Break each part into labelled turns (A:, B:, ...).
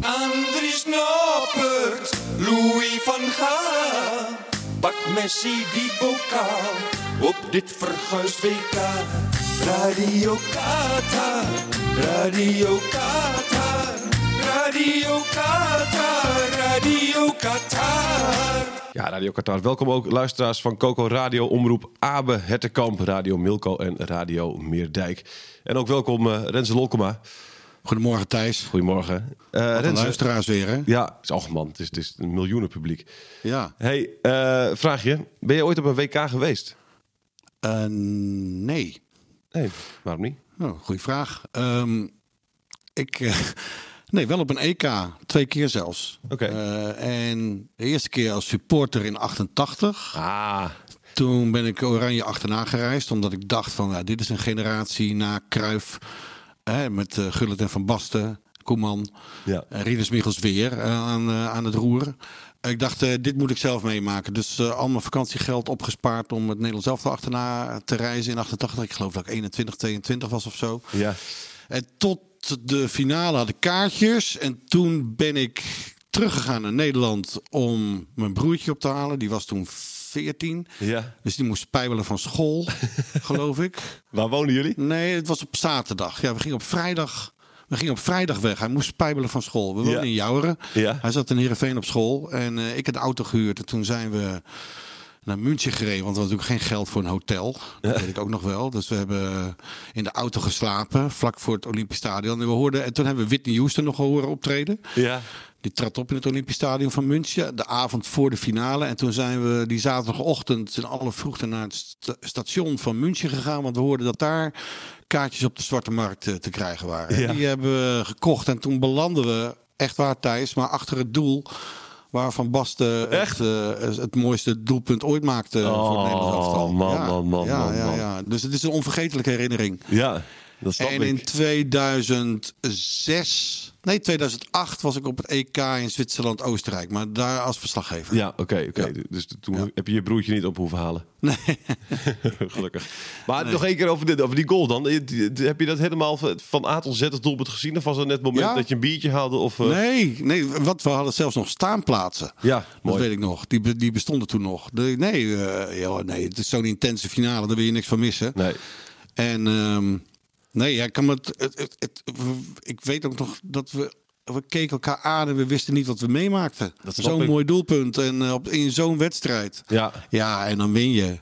A: Andries Noppert, Louis van Gaal. Pak Messi die bokaal op dit verguisd WK. Radio Qatar, Radio Qatar, Radio Qatar, Radio Qatar.
B: Ja, Radio Qatar. Welkom ook luisteraars van Coco Radio, Omroep Abe, Hertekamp, Radio Milko en Radio Meerdijk. En ook welkom eh Renze Lolkema.
C: Goedemorgen Thijs.
B: Goedemorgen. Eh
C: De luisteraars weer, hè?
B: Ja, het is, och man, het is, het is een miljoenen publiek.
C: Ja.
B: hey, eh, vraagje. Ben je ooit op een WK geweest?
C: Eh, nee.
B: Nee, waarom niet?
C: Oh, goeie vraag. Ehm, ik... eh, nee, wel op een EK. Twee keer zelfs.
B: Oké.
C: Eh, en de eerste keer als supporter in 88.
B: Ah,
C: Toen ben ik Oranje achterna gereisd, omdat ik dacht van nou, dit is een generatie na Kruif. Hè, met eh Gullit en Van Basten, Koeman,
B: Ja.
C: en Rinus Michels weer eh, aan, eh, aan het roer. Ik dacht, eh, dit moet ik zelf meemaken. Dus eh, al mijn vakantiegeld opgespaard om het Nederlands elftal achterna te reizen in 88. Ik geloof dat ik 21, 22 was of zo.
B: ja.
C: En tot de finale had ik kaartjes. En toen ben ik teruggegaan naar Nederland om mijn broertje op te halen. Die was toen 14.
B: Ja.
C: Dus die moest pijbelen van school, geloof ik.
B: Waar wonen jullie?
C: Nee, het was op zaterdag. Ja, we gingen op vrijdag. We gingen op vrijdag weg. Hij moest pijbelen van school. We woonden
B: Ja.
C: in Jouweren.
B: Ja.
C: Hij zat in Heerenveen op school. En eh, ik had de auto gehuurd. En toen zijn we naar München gereden. Want we hadden natuurlijk geen geld voor een hotel. Dat weet ik ook nog wel. Dus we hebben in de auto geslapen. Vlak voor het Olympisch Stadion. En, we hoorden, en toen hebben we Whitney Houston nog horen optreden.
B: Ja.
C: Die trad op in het Olympisch Stadion van München. De avond voor de finale. En toen zijn we die zaterdagochtend in alle vroegte naar het sta- station van München gegaan. Want we hoorden dat daar kaartjes op de zwarte markt eh, te krijgen waren.
B: Ja.
C: Die hebben we gekocht. En toen belanden we, echt waar Thijs, maar achter het doel. Waar Van Basten
B: Echt?
C: het, eh, het mooiste doelpunt ooit maakte voor het Nederlands
B: Oh,
C: elftal.
B: man,
C: ja.
B: man, man,
C: ja,
B: man,
C: ja,
B: man.
C: ja. Dus het is een onvergetelijke herinnering.
B: Ja, dat snap
C: En
B: ik.
C: in 2006, nee 2008 was ik op het EK in Zwitserland-Oostenrijk, maar daar als verslaggever.
B: Ja, oké. oké. Dus toen heb je je broertje niet op hoeven halen. Nee. Gelukkig. Maar nog één keer over, dit, over die goal dan. Je- die- die- Heb je dat helemaal van- van A tot Z als doelpunt gezien? Of was dat net het moment
C: Ja.
B: dat je een biertje haalde? Of, eh,
C: Nee, nee, wat we hadden zelfs nog staanplaatsen.
B: Ja,
C: dat
B: mooi.
C: weet ik nog. Die, be- die bestonden toen nog. De- nee, eh, joh, nee, het is zo'n intense finale, daar wil je niks van missen.
B: Nee.
C: En ehm, nee, ja, ik kan me het, het, het- het- ik weet ook nog dat we we keken elkaar aan en we wisten niet wat we meemaakten.
B: Dat snap
C: Zo'n
B: ik.
C: mooi doelpunt en eh, op, in zo'n wedstrijd.
B: Ja.
C: Ja, en dan win je.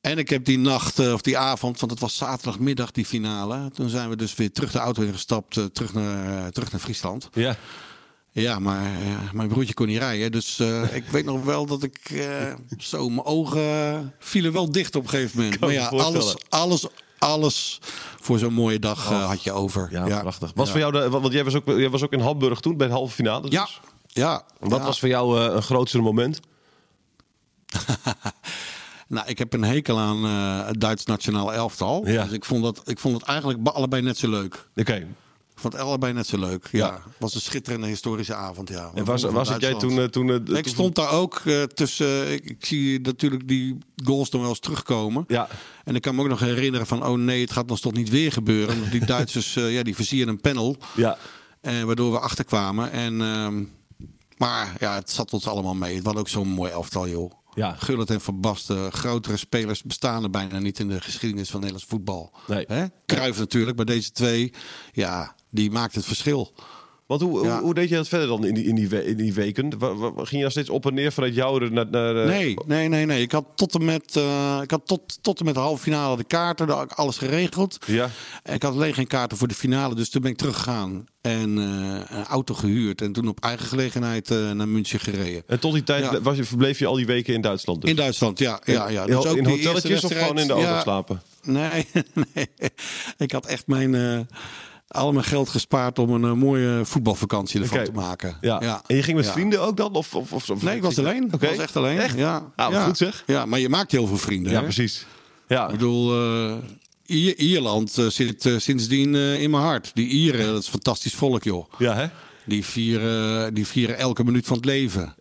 C: En ik heb die nacht, eh, of die avond, want het was zaterdagmiddag die finale. Toen zijn we dus weer terug de auto ingestapt, eh, terug, naar, eh, terug naar Friesland.
B: Ja.
C: Ja, maar eh, mijn broertje kon niet rijden. Dus eh, ik weet nog wel dat ik eh, zo, mijn ogen vielen wel dicht op een gegeven moment.
B: Kan
C: maar
B: me
C: ja,
B: voorstellen.
C: alles, alles, alles voor zo'n mooie dag eh, had je over.
B: Ja, prachtig. Was voor jou de, want jij was, ook, jij was ook in Hamburg toen bij de halve finale. dus.
C: Ja, ja.
B: Wat
C: ja.
B: was voor jou eh, een grootste moment?
C: Nou, ik heb een hekel aan eh, het Duits nationaal elftal.
B: Ja.
C: Dus ik vond, dat, ik vond het eigenlijk ba- allebei net zo leuk.
B: Oké.
C: Ik vond het allebei net zo leuk. Ja.
B: Ja.
C: was een schitterende historische avond. Ja.
B: En was,
C: Van
B: was het jij toen...
C: Duitsland.
B: eh, toen eh,
C: ik
B: toen-
C: stond daar ook eh, tussen. ik, ik zie natuurlijk die goals nog wel eens terugkomen.
B: Ja.
C: En ik kan me ook nog herinneren van: oh nee, het gaat ons toch niet weer gebeuren. Omdat die Duitsers, eh, ja, die versieren een panel.
B: Ja.
C: Eh, waardoor we achterkwamen. En, ehm, maar ja, het zat ons allemaal mee. Het was ook zo'n mooi elftal, joh.
B: Ja.
C: Gullit en Van Basten, grotere spelers bestaan er bijna niet in de geschiedenis van Nederlands voetbal.
B: Nee.
C: Hè? Cruijff natuurlijk, maar deze twee, ja, die maakt het verschil.
B: Want hoe,
C: Ja.
B: hoe, hoe deed je dat verder dan in die, in die, we- in die weken? Wa- wa- ging je dan steeds op en neer vanuit jou naar... naar eh,
C: Nee, nee, nee, nee. Ik had tot en met, eh, ik had tot, tot en met de halve finale de kaarten, daar had ik alles geregeld.
B: Ja.
C: En Ik had alleen geen kaarten voor de finale, dus toen ben ik teruggegaan en eh, een auto gehuurd. En toen op eigen gelegenheid eh, naar München gereden.
B: En tot die tijd
C: Ja.
B: was je, verbleef je al die weken in Duitsland dus?
C: In Duitsland, ja. ja, ja.
B: In-
C: Dus ook
B: in
C: die
B: hotelletjes
C: eerste
B: of gewoon in de
C: wedstrijd,
B: auto slapen?
C: Nee, nee. ik had echt mijn, eh, al mijn geld gespaard om een eh, mooie voetbalvakantie ervan
B: Oké.
C: te maken.
B: Ja. En je ging met
C: Ja.
B: vrienden ook dan? Of, of, of, of-
C: Nee, ik was alleen. Ik
B: Oké.
C: was echt alleen.
B: Echt?
C: Ja.
B: Ah, wat
C: ja.
B: goed zeg.
C: Ja, maar je maakt heel veel vrienden.
B: Ja,
C: hè?
B: precies. Ja,
C: Ik bedoel, eh, I- Ierland eh, zit eh, sindsdien eh, in mijn hart. Die Ieren, dat is een fantastisch volk, joh.
B: ja hè?
C: Die vieren, die vieren elke minuut van het leven.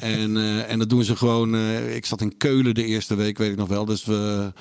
C: en, eh, en dat doen ze gewoon. eh, ik zat in Keulen de eerste week, weet ik nog wel. Dus we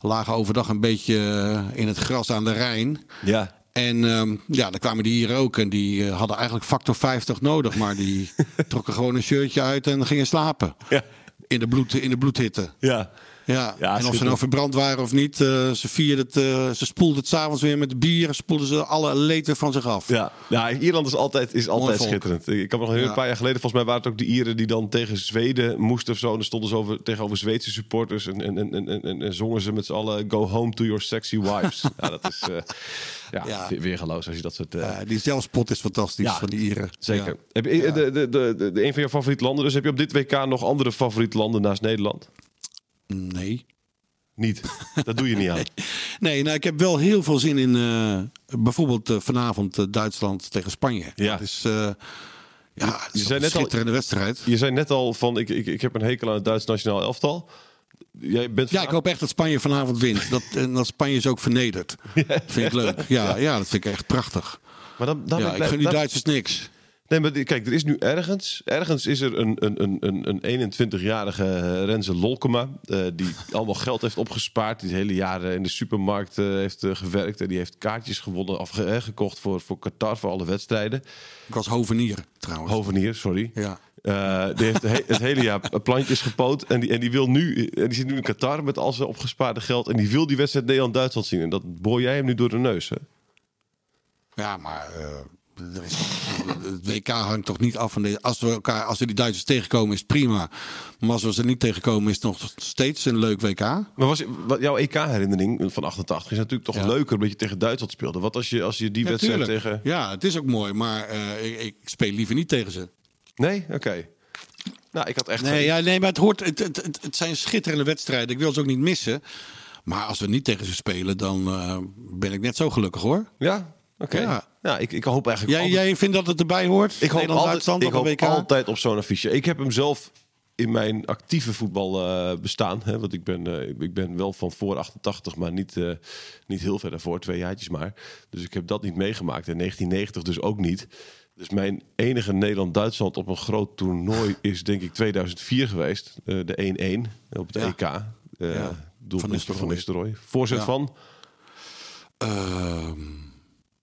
C: lagen overdag een beetje eh, in het gras aan de Rijn.
B: Ja.
C: En ehm, ja, dan kwamen die hier ook. En die eh, hadden eigenlijk factor 50 nodig. Maar die trokken gewoon een shirtje uit en gingen slapen.
B: Ja.
C: In, de bloed, in de bloedhitte.
B: Ja.
C: Ja, en of ze nou
B: schitterend.
C: verbrand waren of niet, eh, ze vierden het, eh, ze spoelden het s'avonds weer met bier, spoelden ze alle leed weer van zich af.
B: Ja, ja Ierland is altijd, is altijd
C: volk.
B: schitterend. Ik kan me nog heel
C: Ja.
B: een paar jaar geleden, volgens mij waren het ook de Ieren die dan tegen Zweden moesten of zo. En dan stonden ze over, tegenover Zweedse supporters en, en, en, en, en, en zongen ze met z'n allen Go home to your sexy wives. ja, dat is eh ja,
C: Ja.
B: we- weergeloos als je dat soort... eh,
C: Ja, die zelfspot is fantastisch
B: Ja,
C: van die Ieren.
B: Zeker.
C: Ja.
B: Heb je, de, de, de, de- de- een van jouw favoriete landen, dus heb je op dit WK nog andere favoriete landen naast Nederland?
C: Mm, Nee.
B: Niet. Dat doe je niet aan.
C: Nee, nou, ik heb wel heel veel zin in eh, bijvoorbeeld eh, vanavond eh, Duitsland tegen Spanje.
B: Ja.
C: Dat is, eh, ja, dat
B: zei
C: is toch een
B: net al-
C: schitterende wedstrijd.
B: Je zei net al van, ik, ik, ik heb een hekel aan het Duits nationaal elftal. Jij bent
C: Ja, ik hoop echt dat Spanje vanavond wint. Dat, en dat Spanje is ook vernederd. vind ik leuk. Ja, ja. dat vind ik echt prachtig.
B: Maar dan, dan
C: Ja, ik gun die Duitsers niks.
B: Nee, maar die- kijk, er is nu ergens... Ergens is er een, een, een, een, een 21-jarige eh, Renze Lolkema... eh, die allemaal geld heeft opgespaard. Die het hele jaar eh, in de supermarkt eh, heeft eh, gewerkt. En die heeft kaartjes gewonnen, of ge- eh, gekocht voor, voor Qatar, voor alle wedstrijden.
C: Ik was hovenier trouwens.
B: Hovenier, sorry.
C: Ja.
B: Eh, die heeft he- het hele jaar plantjes gepoot. En die, en die, wil nu, en die zit nu in Qatar met al zijn opgespaarde geld. En die wil die wedstrijd Nederland-Duitsland zien. En dat boor jij hem nu door de neus, hè?
C: Ja, maar eh, er is, het WK hangt toch niet af van deze. Als we elkaar, als we die Duitsers tegenkomen, is het prima. Maar als we ze niet tegenkomen, is het nog steeds een leuk WK.
B: Maar was, wat- jouw EK-herinnering van 88 is natuurlijk toch
C: Ja.
B: leuker... omdat je tegen Duitsland speelde. Wat als je, als je die
C: Ja,
B: wedstrijd
C: tuurlijk.
B: tegen...
C: ja, het is ook mooi, maar eh, ik, ik speel liever niet tegen ze.
B: Nee? Oké. Nou, ik had echt...
C: Nee, ja, nee maar het, hoort, het, het, het, het zijn schitterende wedstrijden. Ik wil ze ook niet missen. Maar als we niet tegen ze spelen, dan eh, ben ik net zo gelukkig hoor.
B: Ja? Oké.
C: Ja.
B: Ja, ik, ik hoop eigenlijk...
C: Jij,
B: altijd-
C: jij vindt dat het erbij hoort?
B: ik hoop, altijd,
C: Nederland-Duitsland
B: ik
C: op een
B: hoop
C: WK?
B: altijd op zo'n affiche. Ik heb hem zelf in mijn actieve voetbal eh, bestaan. Hè, want ik ben, eh, ik- ik ben wel van voor 88, maar niet, eh, niet heel ver daarvoor. Twee jaartjes maar. Dus ik heb dat niet meegemaakt. En 1990 dus ook niet. Dus mijn enige Nederland-Duitsland op een groot toernooi is denk ik 2004 geweest. Eh, de 1-1 op het
C: Ja.
B: EK. Eh
C: Ja. Van
B: Doelpunt
C: Nistelrooy.
B: van Nistelrooy. Voorzet
C: Ja.
B: van...
C: Ehm,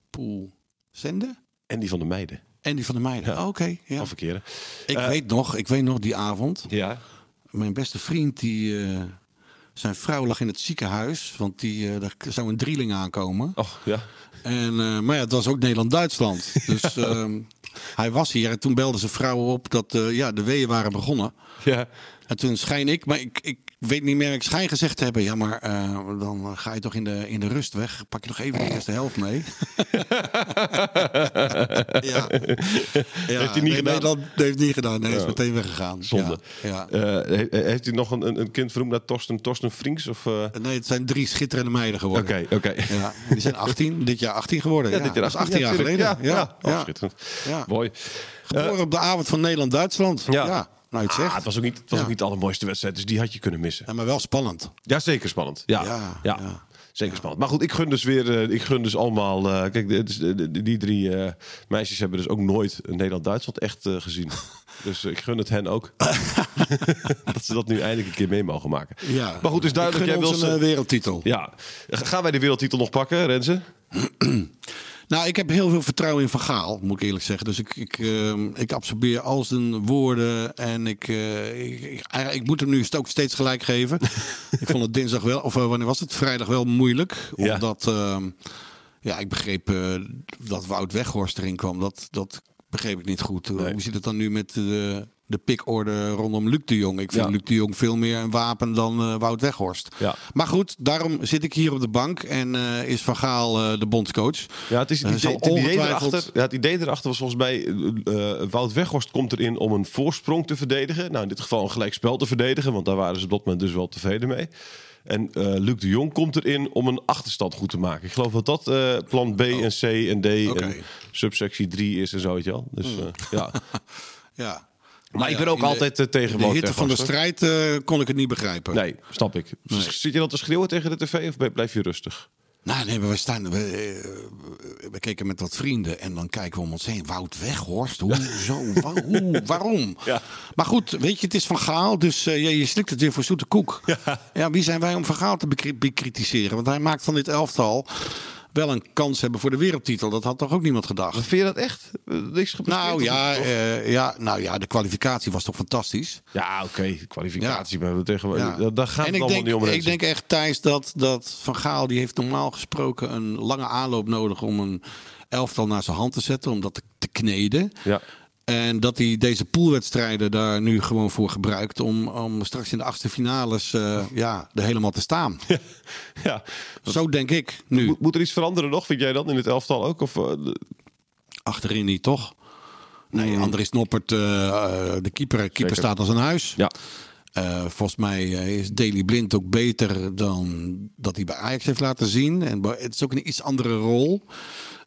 C: Poel. Zenden?
B: En die van de meiden.
C: En die van de meiden.
B: Ja.
C: Oh, Oké, ja.
B: Van verkeren.
C: Ik
B: Eh,
C: weet nog, ik weet nog die avond.
B: Ja.
C: Mijn beste vriend, die, eh, zijn vrouw lag in het ziekenhuis, want die, eh, daar zou een drieling aankomen.
B: Och, ja.
C: En, eh, maar ja, het was ook Nederland-Duitsland. Dus ehm, hij was hier en toen belde zijn vrouw op dat eh, ja, de weeën waren begonnen.
B: Ja.
C: En toen schijn ik, maar ik, ik weet niet meer, ik schijn gezegd te hebben. Ja, maar eh, dan ga je toch in de, in de rust weg. Pak je nog even de eerste helft mee. ja.
B: Heeft hij niet
C: nee,
B: gedaan?
C: Nee, dat heeft hij niet gedaan. Nee, hij is meteen weggegaan.
B: Zonde.
C: Ja. ja.
B: Eh, he- heeft u nog een, een- een kind vernoemd naar Torsten, Torsten Frings? Of, eh, Oké,
C: Nee, het zijn drie schitterende meiden geworden.
B: oké.
C: Ja, die zijn 18, dit jaar 18 geworden. Ja,
B: dit
C: dat is 18 jaar geleden.
B: tuurlijk. Ja, ja. Oh, schitterend.
C: Ja.
B: Mooi.
C: Geboren op de avond van Nederland-Duitsland.
B: Ja.
C: Ja. nou je het zegt.
B: Ah, het was ook niet, het was
C: Ja.
B: ook niet de allermooiste wedstrijd, dus die had je kunnen missen.
C: Ja, maar wel spannend.
B: Ja, zeker spannend. Ja, ja,
C: Ja, ja.
B: zeker spannend. Maar goed, ik gun dus weer, eh, ik gun dus allemaal. eh, kijk, dit is- eh, die, die drie eh, meisjes hebben dus ook nooit Nederland-Duitsland echt eh, gezien. Dus eh, ik gun het hen ook. dat ze dat nu eindelijk een keer mee mogen maken.
C: Ja.
B: Maar goed, het is duidelijk.
C: Ik gun
B: Jij wil
C: ons een
B: ze...
C: eh, wereldtitel.
B: Ja. Gaan wij de wereldtitel nog pakken, Renze?
C: Nou, ik heb heel veel vertrouwen in Van Gaal, moet ik eerlijk zeggen. Dus ik, ik, ehm, ik absorbeer al zijn woorden. En ik, eh, ik, ik, eigenlijk- ik moet hem nu st- ook steeds gelijk geven. ik vond het dinsdag wel, of eh, wanneer was het? Vrijdag wel moeilijk.
B: Ja.
C: Omdat, ehm, ja, ik begreep eh, dat Wout Weghorst erin kwam. Dat, dat begreep ik niet goed. Hoe zit het dan nu met de, de pikorde rondom Luc de Jong? Ik vind
B: Ja.
C: Luc de Jong veel meer een wapen dan eh, Wout Weghorst.
B: Ja.
C: Maar goed, daarom zit ik hier op de bank en eh, is Van Gaal eh, de bondscoach.
B: Ja, het, is het, idee,
C: Hij zal
B: het idee
C: ongetwijfeld-
B: erachter, ja, het idee erachter was volgens mij... eh, eh, Wout Weghorst komt erin om een voorsprong te verdedigen. Nou, in dit geval een gelijkspel te verdedigen. Want daar waren ze op dat moment dus wel tevreden mee. En eh, Luc de Jong komt erin om een achterstand goed te maken. Ik geloof dat dat eh, plan B en C en D
C: Oké.
B: en subsectie 3 is en zo, weet je wel. Dus eh, ja.
C: Ja. Nou
B: Maar ik ben
C: ja,
B: ook
C: in de-
B: altijd eh, tegen
C: In de
B: Wout
C: hitte van de
B: Weghorst, hoor.
C: strijd eh, kon ik het niet begrijpen.
B: Nee, snap ik. Zit je dan te schreeuwen tegen de tv of ben- blijf je rustig?
C: Nou, nee, maar we, staan, we, eh, we keken met wat vrienden en dan kijken we om ons heen. Wout Weghorst, hoezo? Wa- hoe, waarom?
B: Ja.
C: Maar goed, weet je, het is van Gaal, dus eh, ja, je slikt het weer voor zoete koek. Ja. wie zijn wij om van Gaal te bekri- bekritiseren? Want hij maakt van dit elftal wel een kans hebben voor de wereldtitel. Dat had toch ook niemand gedacht?
B: Vind je dat echt? Eh, Niks gepresteerd
C: Nou
B: of
C: ja,
B: niet, toch?
C: eh, ja, nou ja, de kwalificatie was toch fantastisch?
B: Ja, oké. Kwalificatie. Maar we tegen,
C: Ja.
B: daar, daar gaat
C: en
B: het
C: ik
B: allemaal
C: denk,
B: niet om.
C: Ik
B: mensen.
C: denk echt, Thijs, dat, dat Van Gaal die heeft normaal gesproken een lange aanloop nodig om een elftal naar zijn hand te zetten, om dat te, te kneden.
B: Ja.
C: En dat hij deze poolwedstrijden daar nu gewoon voor gebruikt om, om straks in de achtste finales eh, ja, er helemaal te staan.
B: ja.
C: Zo denk ik nu.
B: Moet, moet er iets veranderen nog, vind jij dan, in het elftal ook? Of, eh, de-
C: Achterin niet, toch? Nee,
B: Hmm.
C: Andries Noppert, eh, eh, de keeper, keeper staat als een huis.
B: ja.
C: Eh, volgens mij eh, is Daley Blind ook beter dan dat hij bij Ajax heeft laten zien. En bo- het is ook een iets andere rol.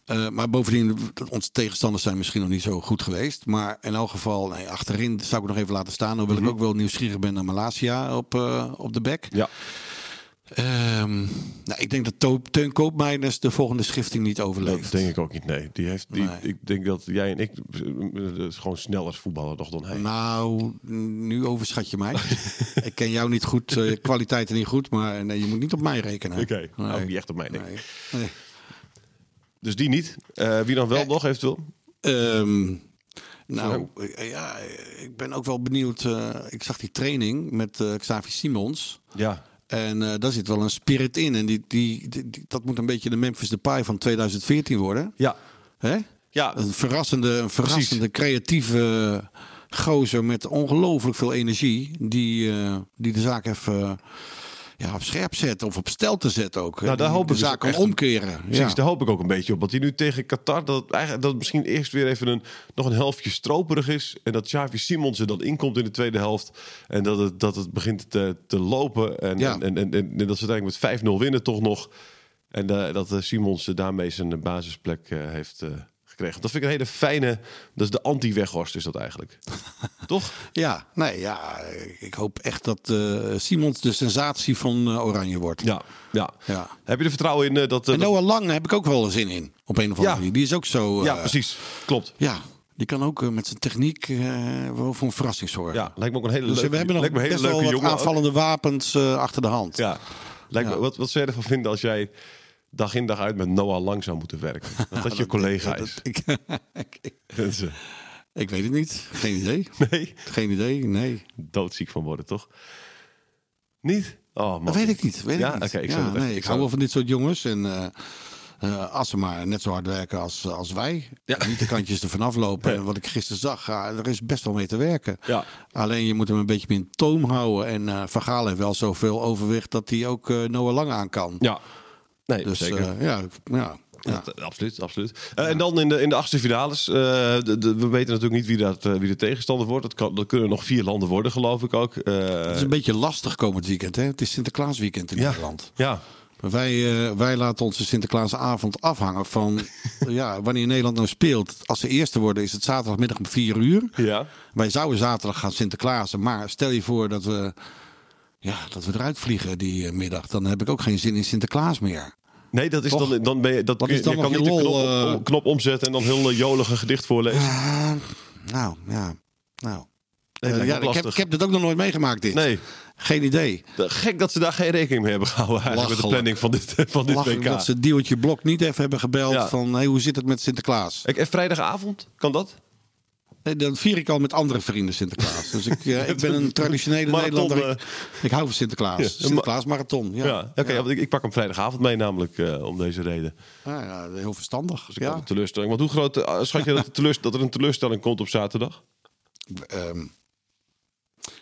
C: Eh, maar bovendien, onze tegenstanders zijn misschien nog niet zo goed geweest. Maar in elk geval, nee, achterin zou ik nog even laten staan. Hoewel
B: Mhm.
C: ik ook wel nieuwsgierig ben naar Malasia op, eh, op de bek.
B: ja.
C: Ehm, nou, ik denk dat To- Teun Koopmeiners de volgende schifting niet overleeft.
B: Dat denk ik ook niet, nee. Die heeft, die,
C: Nee.
B: Ik denk dat jij en ik eh, eh, gewoon sneller voetballen nog dan hij.
C: Nou, nu overschat je mij. ik ken jou niet goed, eh, kwaliteiten niet goed. Maar nee, je moet niet op mij rekenen.
B: Oké, nou,
C: Nee.
B: niet echt op mij, denk ik.
C: Nee. Nee.
B: Dus die niet. Eh, wie dan wel nog eventueel?
C: Ehm, nou, eh, ja, eh, ik ben ook wel benieuwd. eh, ik zag die training met eh, Xavi Simons.
B: Ja.
C: En eh, daar zit wel een spirit in. En die, die, die- die- dat moet een beetje de Memphis Depay van 2014 worden.
B: Ja.
C: Hè?
B: Ja.
C: Een verrassende, een verrassende creatieve gozer met ongelooflijk veel energie. Die, eh, die de zaak even eh, ja, op scherp zet of op stel te zetten ook.
B: Nou, daar
C: Die
B: hoop
C: de
B: ik dus
C: zaak
B: ook
C: kan
B: echt een-
C: omkeren.
B: Precies,
C: Ja.
B: daar hoop ik ook een beetje op. Want die nu tegen Qatar, dat het, eigenlijk, dat het misschien eerst weer even een, nog een helftje stroperig is. En dat Xavi Simons er dan inkomt in de tweede helft. En dat het, dat het begint te, te lopen. En,
C: Ja.
B: en, en, en, en dat ze uiteindelijk met 5-0 winnen toch nog. En eh, dat eh, Simons eh, daarmee zijn basisplek eh, heeft eh, gekregen. Dat vind ik een hele fijne, dat is de anti-weghorst is dat eigenlijk. toch?
C: Ja, nee, ja, ik hoop echt dat eh Simons de sensatie van eh, Oranje wordt.
B: Ja, ja.
C: Ja.
B: Heb je er vertrouwen in eh, dat... eh,
C: En
B: dat-
C: Noah Lang heb ik ook wel zin in, op een of andere
B: Ja.
C: manier. Die is ook zo... eh,
B: ja, precies. Klopt.
C: Ja, die kan ook eh, met zijn techniek eh, wel voor een verrassing zorgen.
B: Ja, lijkt me ook een hele
C: Dus
B: leuke
C: we hebben nog
B: lijkt me een hele
C: best wel
B: leuke
C: wat
B: jongen ook.
C: aanvallende wapens eh, achter de hand.
B: Ja. Lijkt me,
C: Ja.
B: wat, wat zou je ervan vinden als jij dag in dag uit met Noah Lang zou moeten werken? Dat dat je collega
C: Dat-
B: is.
C: ik, ik,
B: Dat is, eh,
C: ik weet het niet. Geen idee.
B: nee,
C: Geen idee, nee.
B: doodziek van worden, toch? Niet? Oh, man.
C: Dat weet ik niet. Weet
B: ja,
C: ik niet.
B: oké, ik
C: ja,
B: zou dat echt-
C: nee, ik
B: ik zou-
C: hou wel van dit soort jongens. En eh, eh, als ze maar net zo hard werken als, als wij. en Niet de kantjes ervan aflopen. En wat ik gisteren zag, ja, er is best wel mee te werken.
B: Ja.
C: Alleen je moet hem een beetje in toom houden. En eh Van Gaal heeft wel zoveel overwicht dat hij ook eh, Noah Lang aan kan.
B: Ja. Nee,
C: dus
B: zeker.
C: eh, ja, ja, ja.
B: Dat- Absoluut, absoluut. Eh, En dan in de, in de achtste finales. eh, de- de- we weten natuurlijk niet wie, dat, eh, wie de tegenstander wordt. Dat, kan, dat kunnen nog vier landen worden, geloof ik ook. Eh,
C: Het is een beetje lastig komend weekend. Hè? Het is Sinterklaasweekend in
B: ja.
C: Nederland.
B: Ja,
C: Maar Wij, eh, wij laten onze Sinterklaasavond afhangen van ja, wanneer Nederland nou speelt. Als ze eerste worden is het zaterdagmiddag om 4 uur.
B: Ja.
C: Wij zouden zaterdag gaan Sinterklaasen. Maar stel je voor dat we, ja, dat we eruit vliegen die eh, middag. Dan heb ik ook geen zin in Sinterklaas meer.
B: Nee, dat is
C: Toch?
B: dan, dan ben je, dat
C: Wat
B: kun je,
C: is dan
B: je
C: nog
B: kan niet
C: je
B: de
C: lol,
B: knop,
C: eh?
B: om- knop omzetten en dan heel eh, jolig een gedicht voorlezen.
C: Eh, nou, ja. Nou.
B: Nee,
C: Eh,
B: lijkt me
C: ja, ik, heb,
B: lastig.
C: ik heb dit ook nog nooit meegemaakt. Dit.
B: Nee.
C: Geen idee.
B: De- Gek dat ze daar geen rekening mee hebben gehouden eigenlijk met de planning
C: Lachelijk.
B: van dit, van dit
C: Lachen
B: WK.
C: dat ze Diewertje Blok niet even hebben gebeld
B: Ja.
C: van hey, hoe zit het met Sinterklaas?
B: Ik, en vrijdagavond, kan dat?
C: Nee, Eh, dan vier ik al met andere vrienden Sinterklaas. Dus ik, eh, ik ben een traditionele
B: Marathon, eh.
C: Nederlander. Ik, ik hou van Sinterklaas.
B: Ja,
C: Sinterklaas marathon. Ja,
B: Ja. Oké,
C: ja.
B: want ik, ik pak hem vrijdagavond mee namelijk eh, om deze reden.
C: Ja, Ah, ja, heel verstandig.
B: Dus ik had
C: Ja.
B: een teleurstelling. Want hoe groot eh, schat je dat, de teleurs- dat er een teleurstelling komt op zaterdag?
C: Ehm,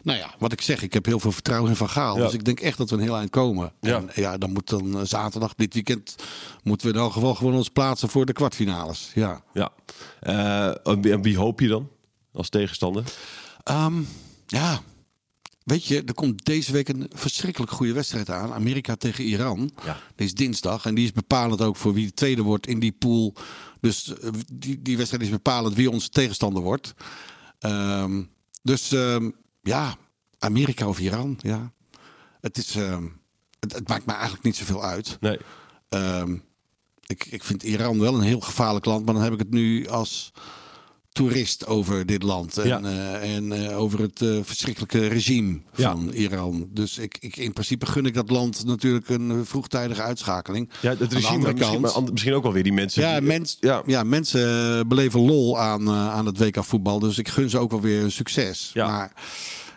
C: nou ja, wat ik zeg, ik heb heel veel vertrouwen in Van Gaal.
B: Ja.
C: Dus ik denk echt dat we een heel eind komen.
B: Ja.
C: En ja, dan moet dan eh, zaterdag, dit weekend, moeten we in elk geval gewoon ons plaatsen voor de kwartfinales. Ja.
B: Ja. Eh, en, wie, en wie hoop je dan als tegenstander?
C: Ehm, ja. Weet je, er komt deze week een verschrikkelijk goede wedstrijd aan. Amerika tegen Iran.
B: Ja.
C: Die is dinsdag. En die is bepalend ook voor wie de tweede wordt in die pool. Dus eh, die, die wedstrijd is bepalend wie onze tegenstander wordt. Ehm, dus ehm, ja, Amerika of Iran. Ja. Het, is, ehm, het, het maakt me eigenlijk niet zoveel uit.
B: Nee.
C: Ehm, ik, ik vind Iran wel een heel gevaarlijk land, maar dan heb ik het nu als toerist over dit land en,
B: Ja.
C: eh, en eh, over het eh, verschrikkelijke regime
B: Ja.
C: van Iran. Dus ik, ik, in principe gun ik dat land natuurlijk een eh, vroegtijdige uitschakeling.
B: Ja, dat
C: Aan de
B: regime,
C: andere
B: maar misschien,
C: kant-
B: maar an- misschien ook wel weer die mensen.
C: ja,
B: die-
C: mens, ja.
B: ja.
C: mensen eh, beleven lol aan, eh, aan het WK voetbal. Dus ik gun ze ook wel weer een succes.
B: Ja.
C: Maar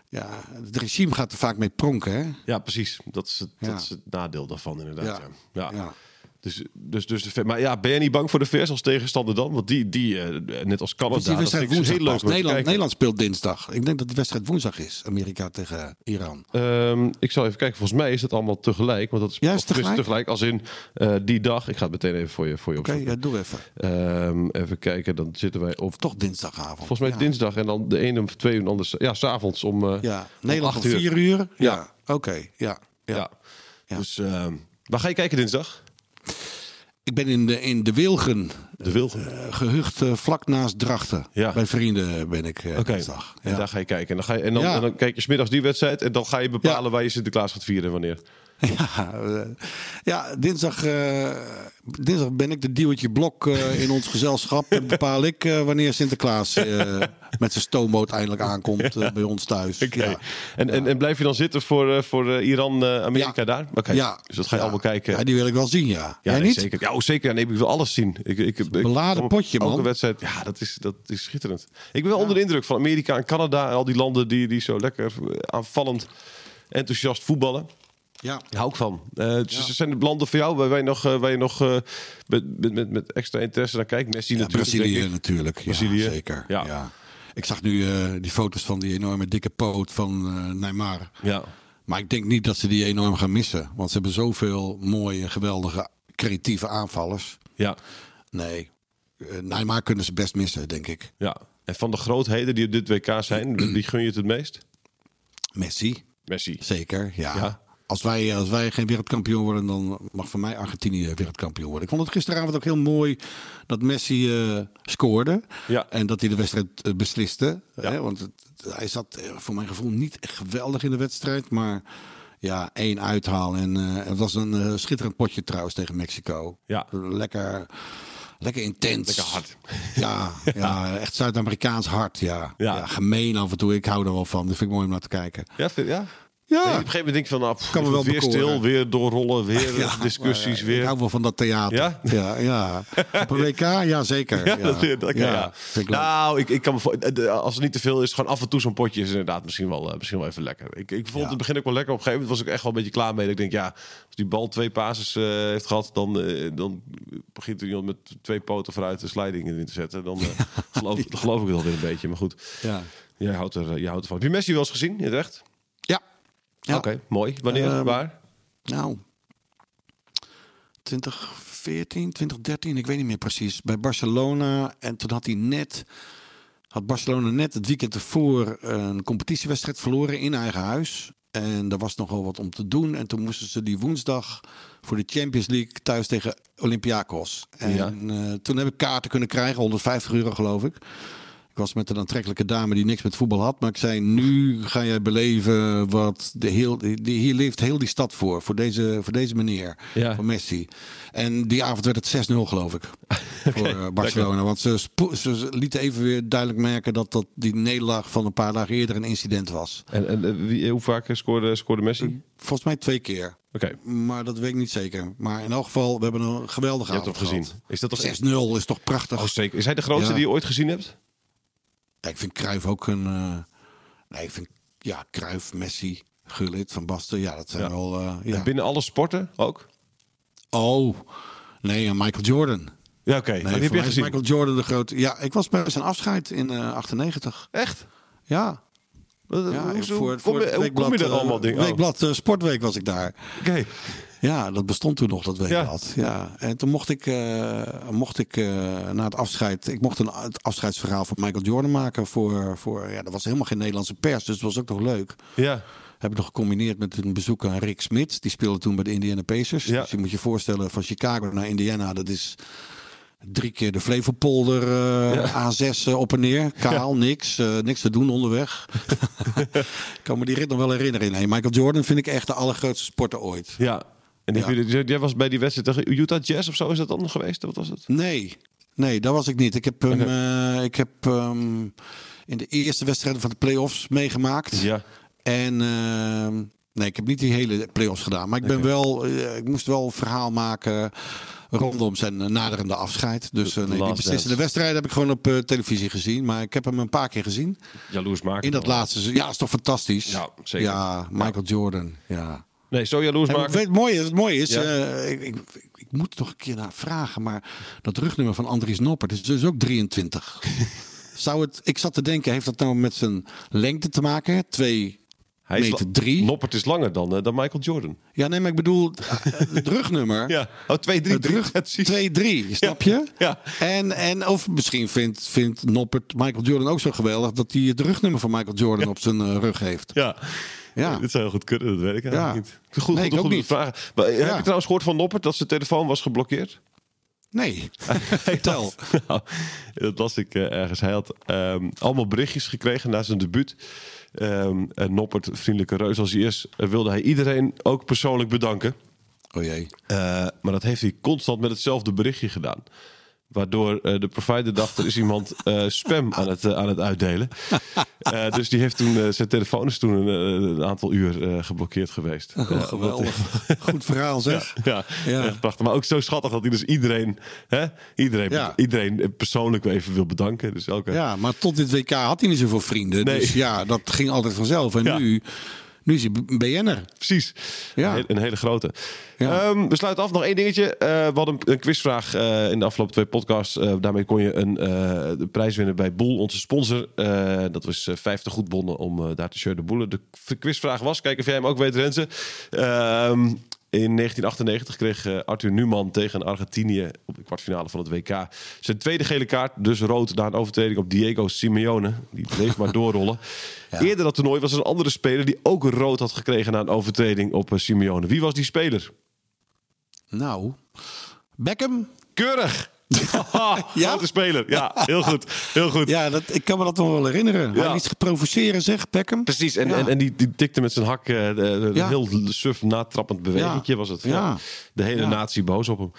C: ja, het regime gaat er vaak mee pronken. Hè?
B: Ja, precies. Dat is het,
C: Ja.
B: dat is het nadeel daarvan inderdaad. Ja.
C: Ja.
B: Ja.
C: Ja.
B: Dus, dus, dus de, Ver- maar ja, ben je niet bang voor de vers als tegenstander dan? Want die, die eh, net als
C: Dus
B: Canada,
C: die
B: dat
C: wedstrijd
B: vind ik
C: woensdag
B: heel leuk.
C: pas.
B: om te
C: Nederland,
B: kijken.
C: Nederland speelt dinsdag. Ik denk dat de wedstrijd woensdag is. Amerika tegen Iran.
B: Ehm, ik zal even kijken. Volgens mij is dat allemaal tegelijk. Want dat is,
C: Ja, is
B: of tenminste
C: tegelijk?
B: Als in eh, die dag. Ik ga het meteen even voor je, voor je
C: Oké,
B: opzoeken.
C: ja, doe even.
B: Ehm, even kijken. Dan zitten wij op
C: Toch dinsdagavond.
B: volgens mij
C: ja.
B: dinsdag. En dan de ene om twee uur. en de ander s- Ja, s'avonds om, eh,
C: Ja,
B: om
C: Nederland om
B: acht uur.
C: vier uur. Ja,
B: Ja.
C: oké. Ja. Ja.
B: Ja. Dus ehm, waar ga je kijken dinsdag?
C: Ik ben in de, in de Wilgen,
B: De Wilgen.
C: eh, gehucht eh, vlak naast Drachten.
B: Ja.
C: Bij vrienden ben ik eh
B: Oké,
C: dinsdag.
B: en
C: Ja.
B: daar ga je kijken. En dan, ga je, en dan,
C: Ja.
B: en dan kijk je smiddags die wedstrijd en dan ga je bepalen
C: Ja.
B: waar je Sinterklaas gaat vieren en wanneer.
C: Ja, eh, ja dinsdag, eh, dinsdag ben ik de duwtje blok eh, in ons gezelschap. En bepaal ik eh, wanneer Sinterklaas eh, met zijn stoomboot eindelijk aankomt eh, bij ons thuis.
B: Oké.
C: Ja.
B: En, en, en blijf je dan zitten voor, eh, voor eh, Iran, eh, Amerika
C: Ja.
B: daar? Oké,
C: Ja.
B: dus dat ga je
C: Ja.
B: allemaal kijken.
C: Ja, die wil ik wel zien, ja. Jij
B: nee,
C: niet?
B: Zeker. Ja, oh, zeker. Nee, ik wil alles zien. Ik, ik, ik,
C: Beladen
B: ik-
C: potje, man.
B: Elke wedstrijd. Ja, dat is, dat is schitterend. Ik ben wel onder de indruk van Amerika en Canada. En al die landen die, die zo lekker eh, aanvallend enthousiast voetballen.
C: Ja.
B: Daar hou ik van. Eh, het z- Zijn het landen voor jou waar wij nog, eh, waar je nog eh, met, met, met, met extra interesse naar kijkt? Messi
C: Ja,
B: natuurlijk. denk
C: Brazilië
B: ik.
C: natuurlijk.
B: Brazilië.
C: Ja, zeker.
B: Ja.
C: Ja. Ik zag nu eh, die foto's van die enorme dikke poot van eh, Neymar.
B: Ja.
C: Maar ik denk niet dat ze die enorm gaan missen. Want ze hebben zoveel mooie, geweldige, creatieve aanvallers.
B: Ja,
C: Nee, eh, Neymar kunnen ze best missen, denk ik.
B: ja. En van de grootheden die op dit WK zijn, die gun je het het meest?
C: Messi,
B: Messi.
C: zeker. Ja.
B: Ja.
C: Als, wij, eh, als wij geen wereldkampioen worden, dan mag voor mij Argentinië wereldkampioen worden. Ik vond het gisteravond ook heel mooi dat Messi eh, scoorde.
B: Ja.
C: En dat hij de wedstrijd eh, besliste.
B: Ja.
C: Hè, want het- hij zat eh, voor mijn gevoel niet echt geweldig in de wedstrijd. Maar ja, één uithaal. En eh, het was een eh, schitterend potje trouwens tegen Mexico.
B: Ja.
C: Lekker, lekker intens.
B: Lekker hard.
C: Ja, ja. echt Zuid-Amerikaans hard. Ja.
B: Ja.
C: Ja. gemeen af en toe. Ik hou er wel van. Dat vind ik mooi om naar te kijken.
B: Ja, vind- ja.
C: Ja.
B: Nee, op een gegeven moment denk je van, nou, pff,
C: Kan me wel
B: weer
C: bekoren.
B: stil, weer doorrollen, weer
C: Ja, eh,
B: discussies,
C: Ik
B: weer.
C: hou wel van dat theater.
B: Ja?
C: Ja, ja. Op een WK? Ja, zeker.
B: Ja, dat, dat, dat- ja.
C: vind ik leuk.
B: Nou, ik, ik kan me voor- eh, de- als er niet te veel is, gewoon af en toe zo'n potje is inderdaad misschien wel, eh, misschien wel even lekker. Ik, ik vond het in het begin ook wel lekker. Op een gegeven moment was ik echt wel een beetje klaar mee. Dat Ik denk, ja, als die bal twee pases eh, heeft gehad, dan, eh, dan begint er iemand met twee poten vooruit de sliding in te zetten. Dan eh, geloof, geloof ik het alweer een beetje, maar goed.
C: Ja.
B: Jij houdt, er, eh, jij houdt ervan. Heb je Messi wel eens gezien in het echt?
C: Ja. Ja.
B: Oké, mooi. Wanneer,
C: Ehm,
B: waar?
C: Nou, 2014, 2013, ik weet niet meer precies. Bij Barcelona. En toen had hij net. Had Barcelona net het weekend ervoor een competitiewedstrijd verloren in eigen huis. En er was nogal wat om te doen. En toen moesten ze die woensdag voor de Champions League thuis tegen Olympiakos. En
B: Ja.
C: eh, toen heb ik kaarten kunnen krijgen, 150 euro geloof ik. Ik was met een aantrekkelijke dame die niks met voetbal had. Maar ik zei, nu ga jij beleven wat... De heel, die, hier leeft heel die stad voor. Voor deze, voor deze meneer.
B: Ja.
C: Voor Messi. En die avond werd het 6-0 geloof ik. voor eh, Barcelona. Want ze, spo- ze ze lieten even weer duidelijk merken... dat, dat die nederlaag van een paar dagen eerder een incident was.
B: En, en eh, wie, hoe vaak scoorde, scoorde Messi? Oké,
C: Volgens mij twee keer. Maar dat weet ik niet zeker. Maar in elk geval, we hebben een geweldige
B: je hebt hem
C: avond
B: gezien. Is dat toch
C: gehad. 6-0 is toch prachtig.
B: Oh, zeker. Is hij de grootste
C: Ja.
B: die je ooit gezien hebt?
C: Ja, ik vind Cruijff ook een... eh, nee, ik vind... Ja, Cruijff, Messi, Gullit, Van Basten. Ja, dat zijn
B: Ja.
C: wel... eh, ja.
B: En binnen alle sporten ook?
C: Oh, nee, en Michael Jordan. Nee,
B: Ja, oké. Maar die heb
C: voor mij
B: je
C: is
B: gezien.
C: Michael Jordan de grote... Ja, ik was bij zijn afscheid in eh, 98.
B: Echt?
C: Ja.
B: Wat-
C: Ja,
B: hoezo-
C: voor, het-
B: kom
C: voor
B: je-
C: het
B: hoe kom je
C: weekblad,
B: er
C: eh,
B: allemaal dingen? Oh,
C: Weekblad eh, Sportweek was ik daar.
B: Oké.
C: Ja, dat bestond toen nog, dat weekblad. Ja. En toen mocht ik, eh, mocht ik eh, na het afscheid... Ik mocht een, het afscheidsverhaal van Michael Jordan maken. Voor, voor, ja, dat was helemaal geen Nederlandse pers, dus dat was ook nog leuk.
B: Ja.
C: Heb ik nog gecombineerd met een bezoek aan Rick Smit. Die speelde toen bij de Indiana Pacers.
B: Ja.
C: Dus je moet je voorstellen, van Chicago naar Indiana, dat is drie keer de Flevopolder eh, A6 eh, op en neer. Kaal, niks. eh, niks te doen onderweg. ik kan me die rit nog wel herinneren. Nee, Michael Jordan vind ik echt de allergrootste sporter ooit.
B: Ja. En heb
C: Ja.
B: je- jij was bij die wedstrijd tegen Utah Jazz of zo, is dat dan geweest? Wat was het?
C: Nee, nee, dat was ik niet. Ik heb, hem, eh, ik heb ehm, in de eerste wedstrijden van de play-offs meegemaakt.
B: Ja.
C: En ehm, nee, ik heb niet die hele play-offs gedaan. Maar ik, ben wel, eh, ik moest wel een verhaal maken rondom zijn eh, naderende afscheid. Dus eh, nee, die
B: Last
C: beslissende
B: Dance.
C: wedstrijden heb ik gewoon op eh, televisie gezien. Maar ik heb hem een paar keer gezien.
B: Jaloers maken.
C: In dat laatste se- Ja, is toch fantastisch?
B: Ja, zeker.
C: Ja, Michael Jordan. Ja.
B: Nee, zo jaloers
C: En
B: maken.
C: wat het mooie is, het mooie is
B: Ja.
C: eh, ik, ik, ik- ik moet er toch een keer naar vragen, maar dat rugnummer van Andries Noppert is dus ook 23. Zou het, ik zat te denken, heeft dat nou met zijn lengte te maken? Twee
B: Hij is
C: meter
B: la-
C: drie?
B: Noppert is langer dan, eh, dan Michael Jordan.
C: Ja, nee, maar ik bedoel eh, het rugnummer.
B: Ja. Oh, 2, 3,
C: Het
B: 3.
C: rug 2-3, snap je?
B: Ja.
C: En, en of misschien vindt, vindt Noppert Michael Jordan ook zo geweldig dat hij het rugnummer van Michael Jordan op zijn eh, rug heeft.
B: Ja.
C: Ja.
B: Nee, Dit zou heel goed kunnen, dat weet ik eigenlijk
C: Ja.
B: niet. Goed, Goed,
C: Nee, ik
B: goed,
C: ook
B: goed
C: niet.
B: vragen. Maar, eh, Heb
C: Ja.
B: je trouwens gehoord van Noppert dat zijn telefoon was geblokkeerd?
C: Nee, vertel.
B: Nou, dat las ik eh, ergens. Hij had ehm, allemaal berichtjes gekregen na zijn debuut. Ehm, en Noppert, vriendelijke reus als hij is, eh, wilde hij iedereen ook persoonlijk bedanken.
C: Oh jee.
B: Eh, maar dat heeft hij constant met hetzelfde berichtje gedaan. Waardoor eh, de provider dacht, er is iemand eh, spam aan het, eh, aan het uitdelen. Eh, dus die heeft toen, eh, zijn telefoon is toen een, eh, een aantal uur eh, geblokkeerd geweest. Eh,
C: Oh,
B: Ja,
C: geweldig. Goed verhaal zeg.
B: ja,
C: Ja.
B: echt prachtig. Maar ook zo schattig dat hij dus iedereen, hè, iedereen,
C: Ja.
B: iedereen persoonlijk wel even wil bedanken. Dus elke,
C: Ja, maar tot dit WK had hij niet zoveel vrienden.
B: Nee.
C: Dus ja, dat ging altijd vanzelf. En
B: Ja.
C: nu, nu is hij een BN'er.
B: Precies.
C: Ja.
B: Een, hele- een hele grote.
C: Ja.
B: Ehm, we sluiten af nog één dingetje. Eh, we hadden een- een quizvraag eh, in de afgelopen twee podcasts. Eh, daarmee kon je een eh, de prijs winnen bij Boel, onze sponsor. Eh, dat was eh, 50 goedbonnen om eh, daar te shirt de boelen. De k- quizvraag was, kijk of jij hem ook weet Renze. Ehm, in 1998 kreeg eh, Arthur Newman tegen Argentinië op de kwartfinale van het WK zijn tweede gele kaart, dus rood na een overtreding op Diego Simeone. Die bleef maar doorrollen. Eerder dat toernooi was er een andere speler die ook rood had gekregen na een overtreding op eh, Simeone. Wie was die speler?
C: Nou, Beckham.
B: Keurig. ja?
C: Ja?
B: Grote speler. Ja, heel goed. Heel goed.
C: Ja, dat, ik kan me dat nog wel herinneren.
B: Ja.
C: Hij liet zich provoceren zeg, Beckham.
B: Precies. En,
C: Ja.
B: en, en die, die tikte met zijn hak eh, de- de-
C: Ja.
B: een heel suf natrappend bewegingje was het. Ja.
C: Ja.
B: De hele
C: Ja.
B: natie boos op hem.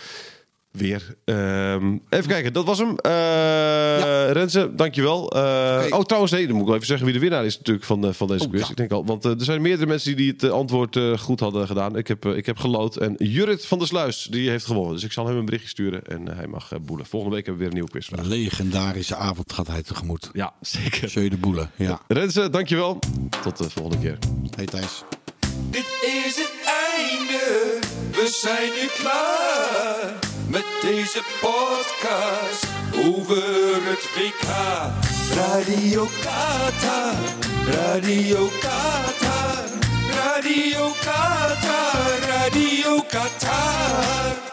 B: Weer. Ehm, even kijken, dat was hem. Eh Renze, dankjewel. Eh Oh, trouwens, nee, dan moet ik wel even zeggen wie de winnaar is natuurlijk van, eh, van deze quiz.
C: Oh, ja.
B: Ik denk al, want eh, er zijn meerdere mensen die het eh, antwoord eh, goed hadden gedaan. Ik heb, eh, ik heb geloot. En Jurrit van der Sluis, die heeft gewonnen. Dus ik zal hem een berichtje sturen en eh, hij mag eh, boelen. Volgende week hebben we weer een nieuwe quizvraag.
C: Legendarische avond gaat hij tegemoet.
B: Ja, zeker.
C: Jeu de Boele, ja.
B: Renze, dankjewel. Tot de volgende keer.
C: Hey Thijs.
A: Dit is het einde, we zijn nu klaar met deze podcast over het WK. Radio Qatar, Radio Qatar, Radio Qatar, Radio Qatar.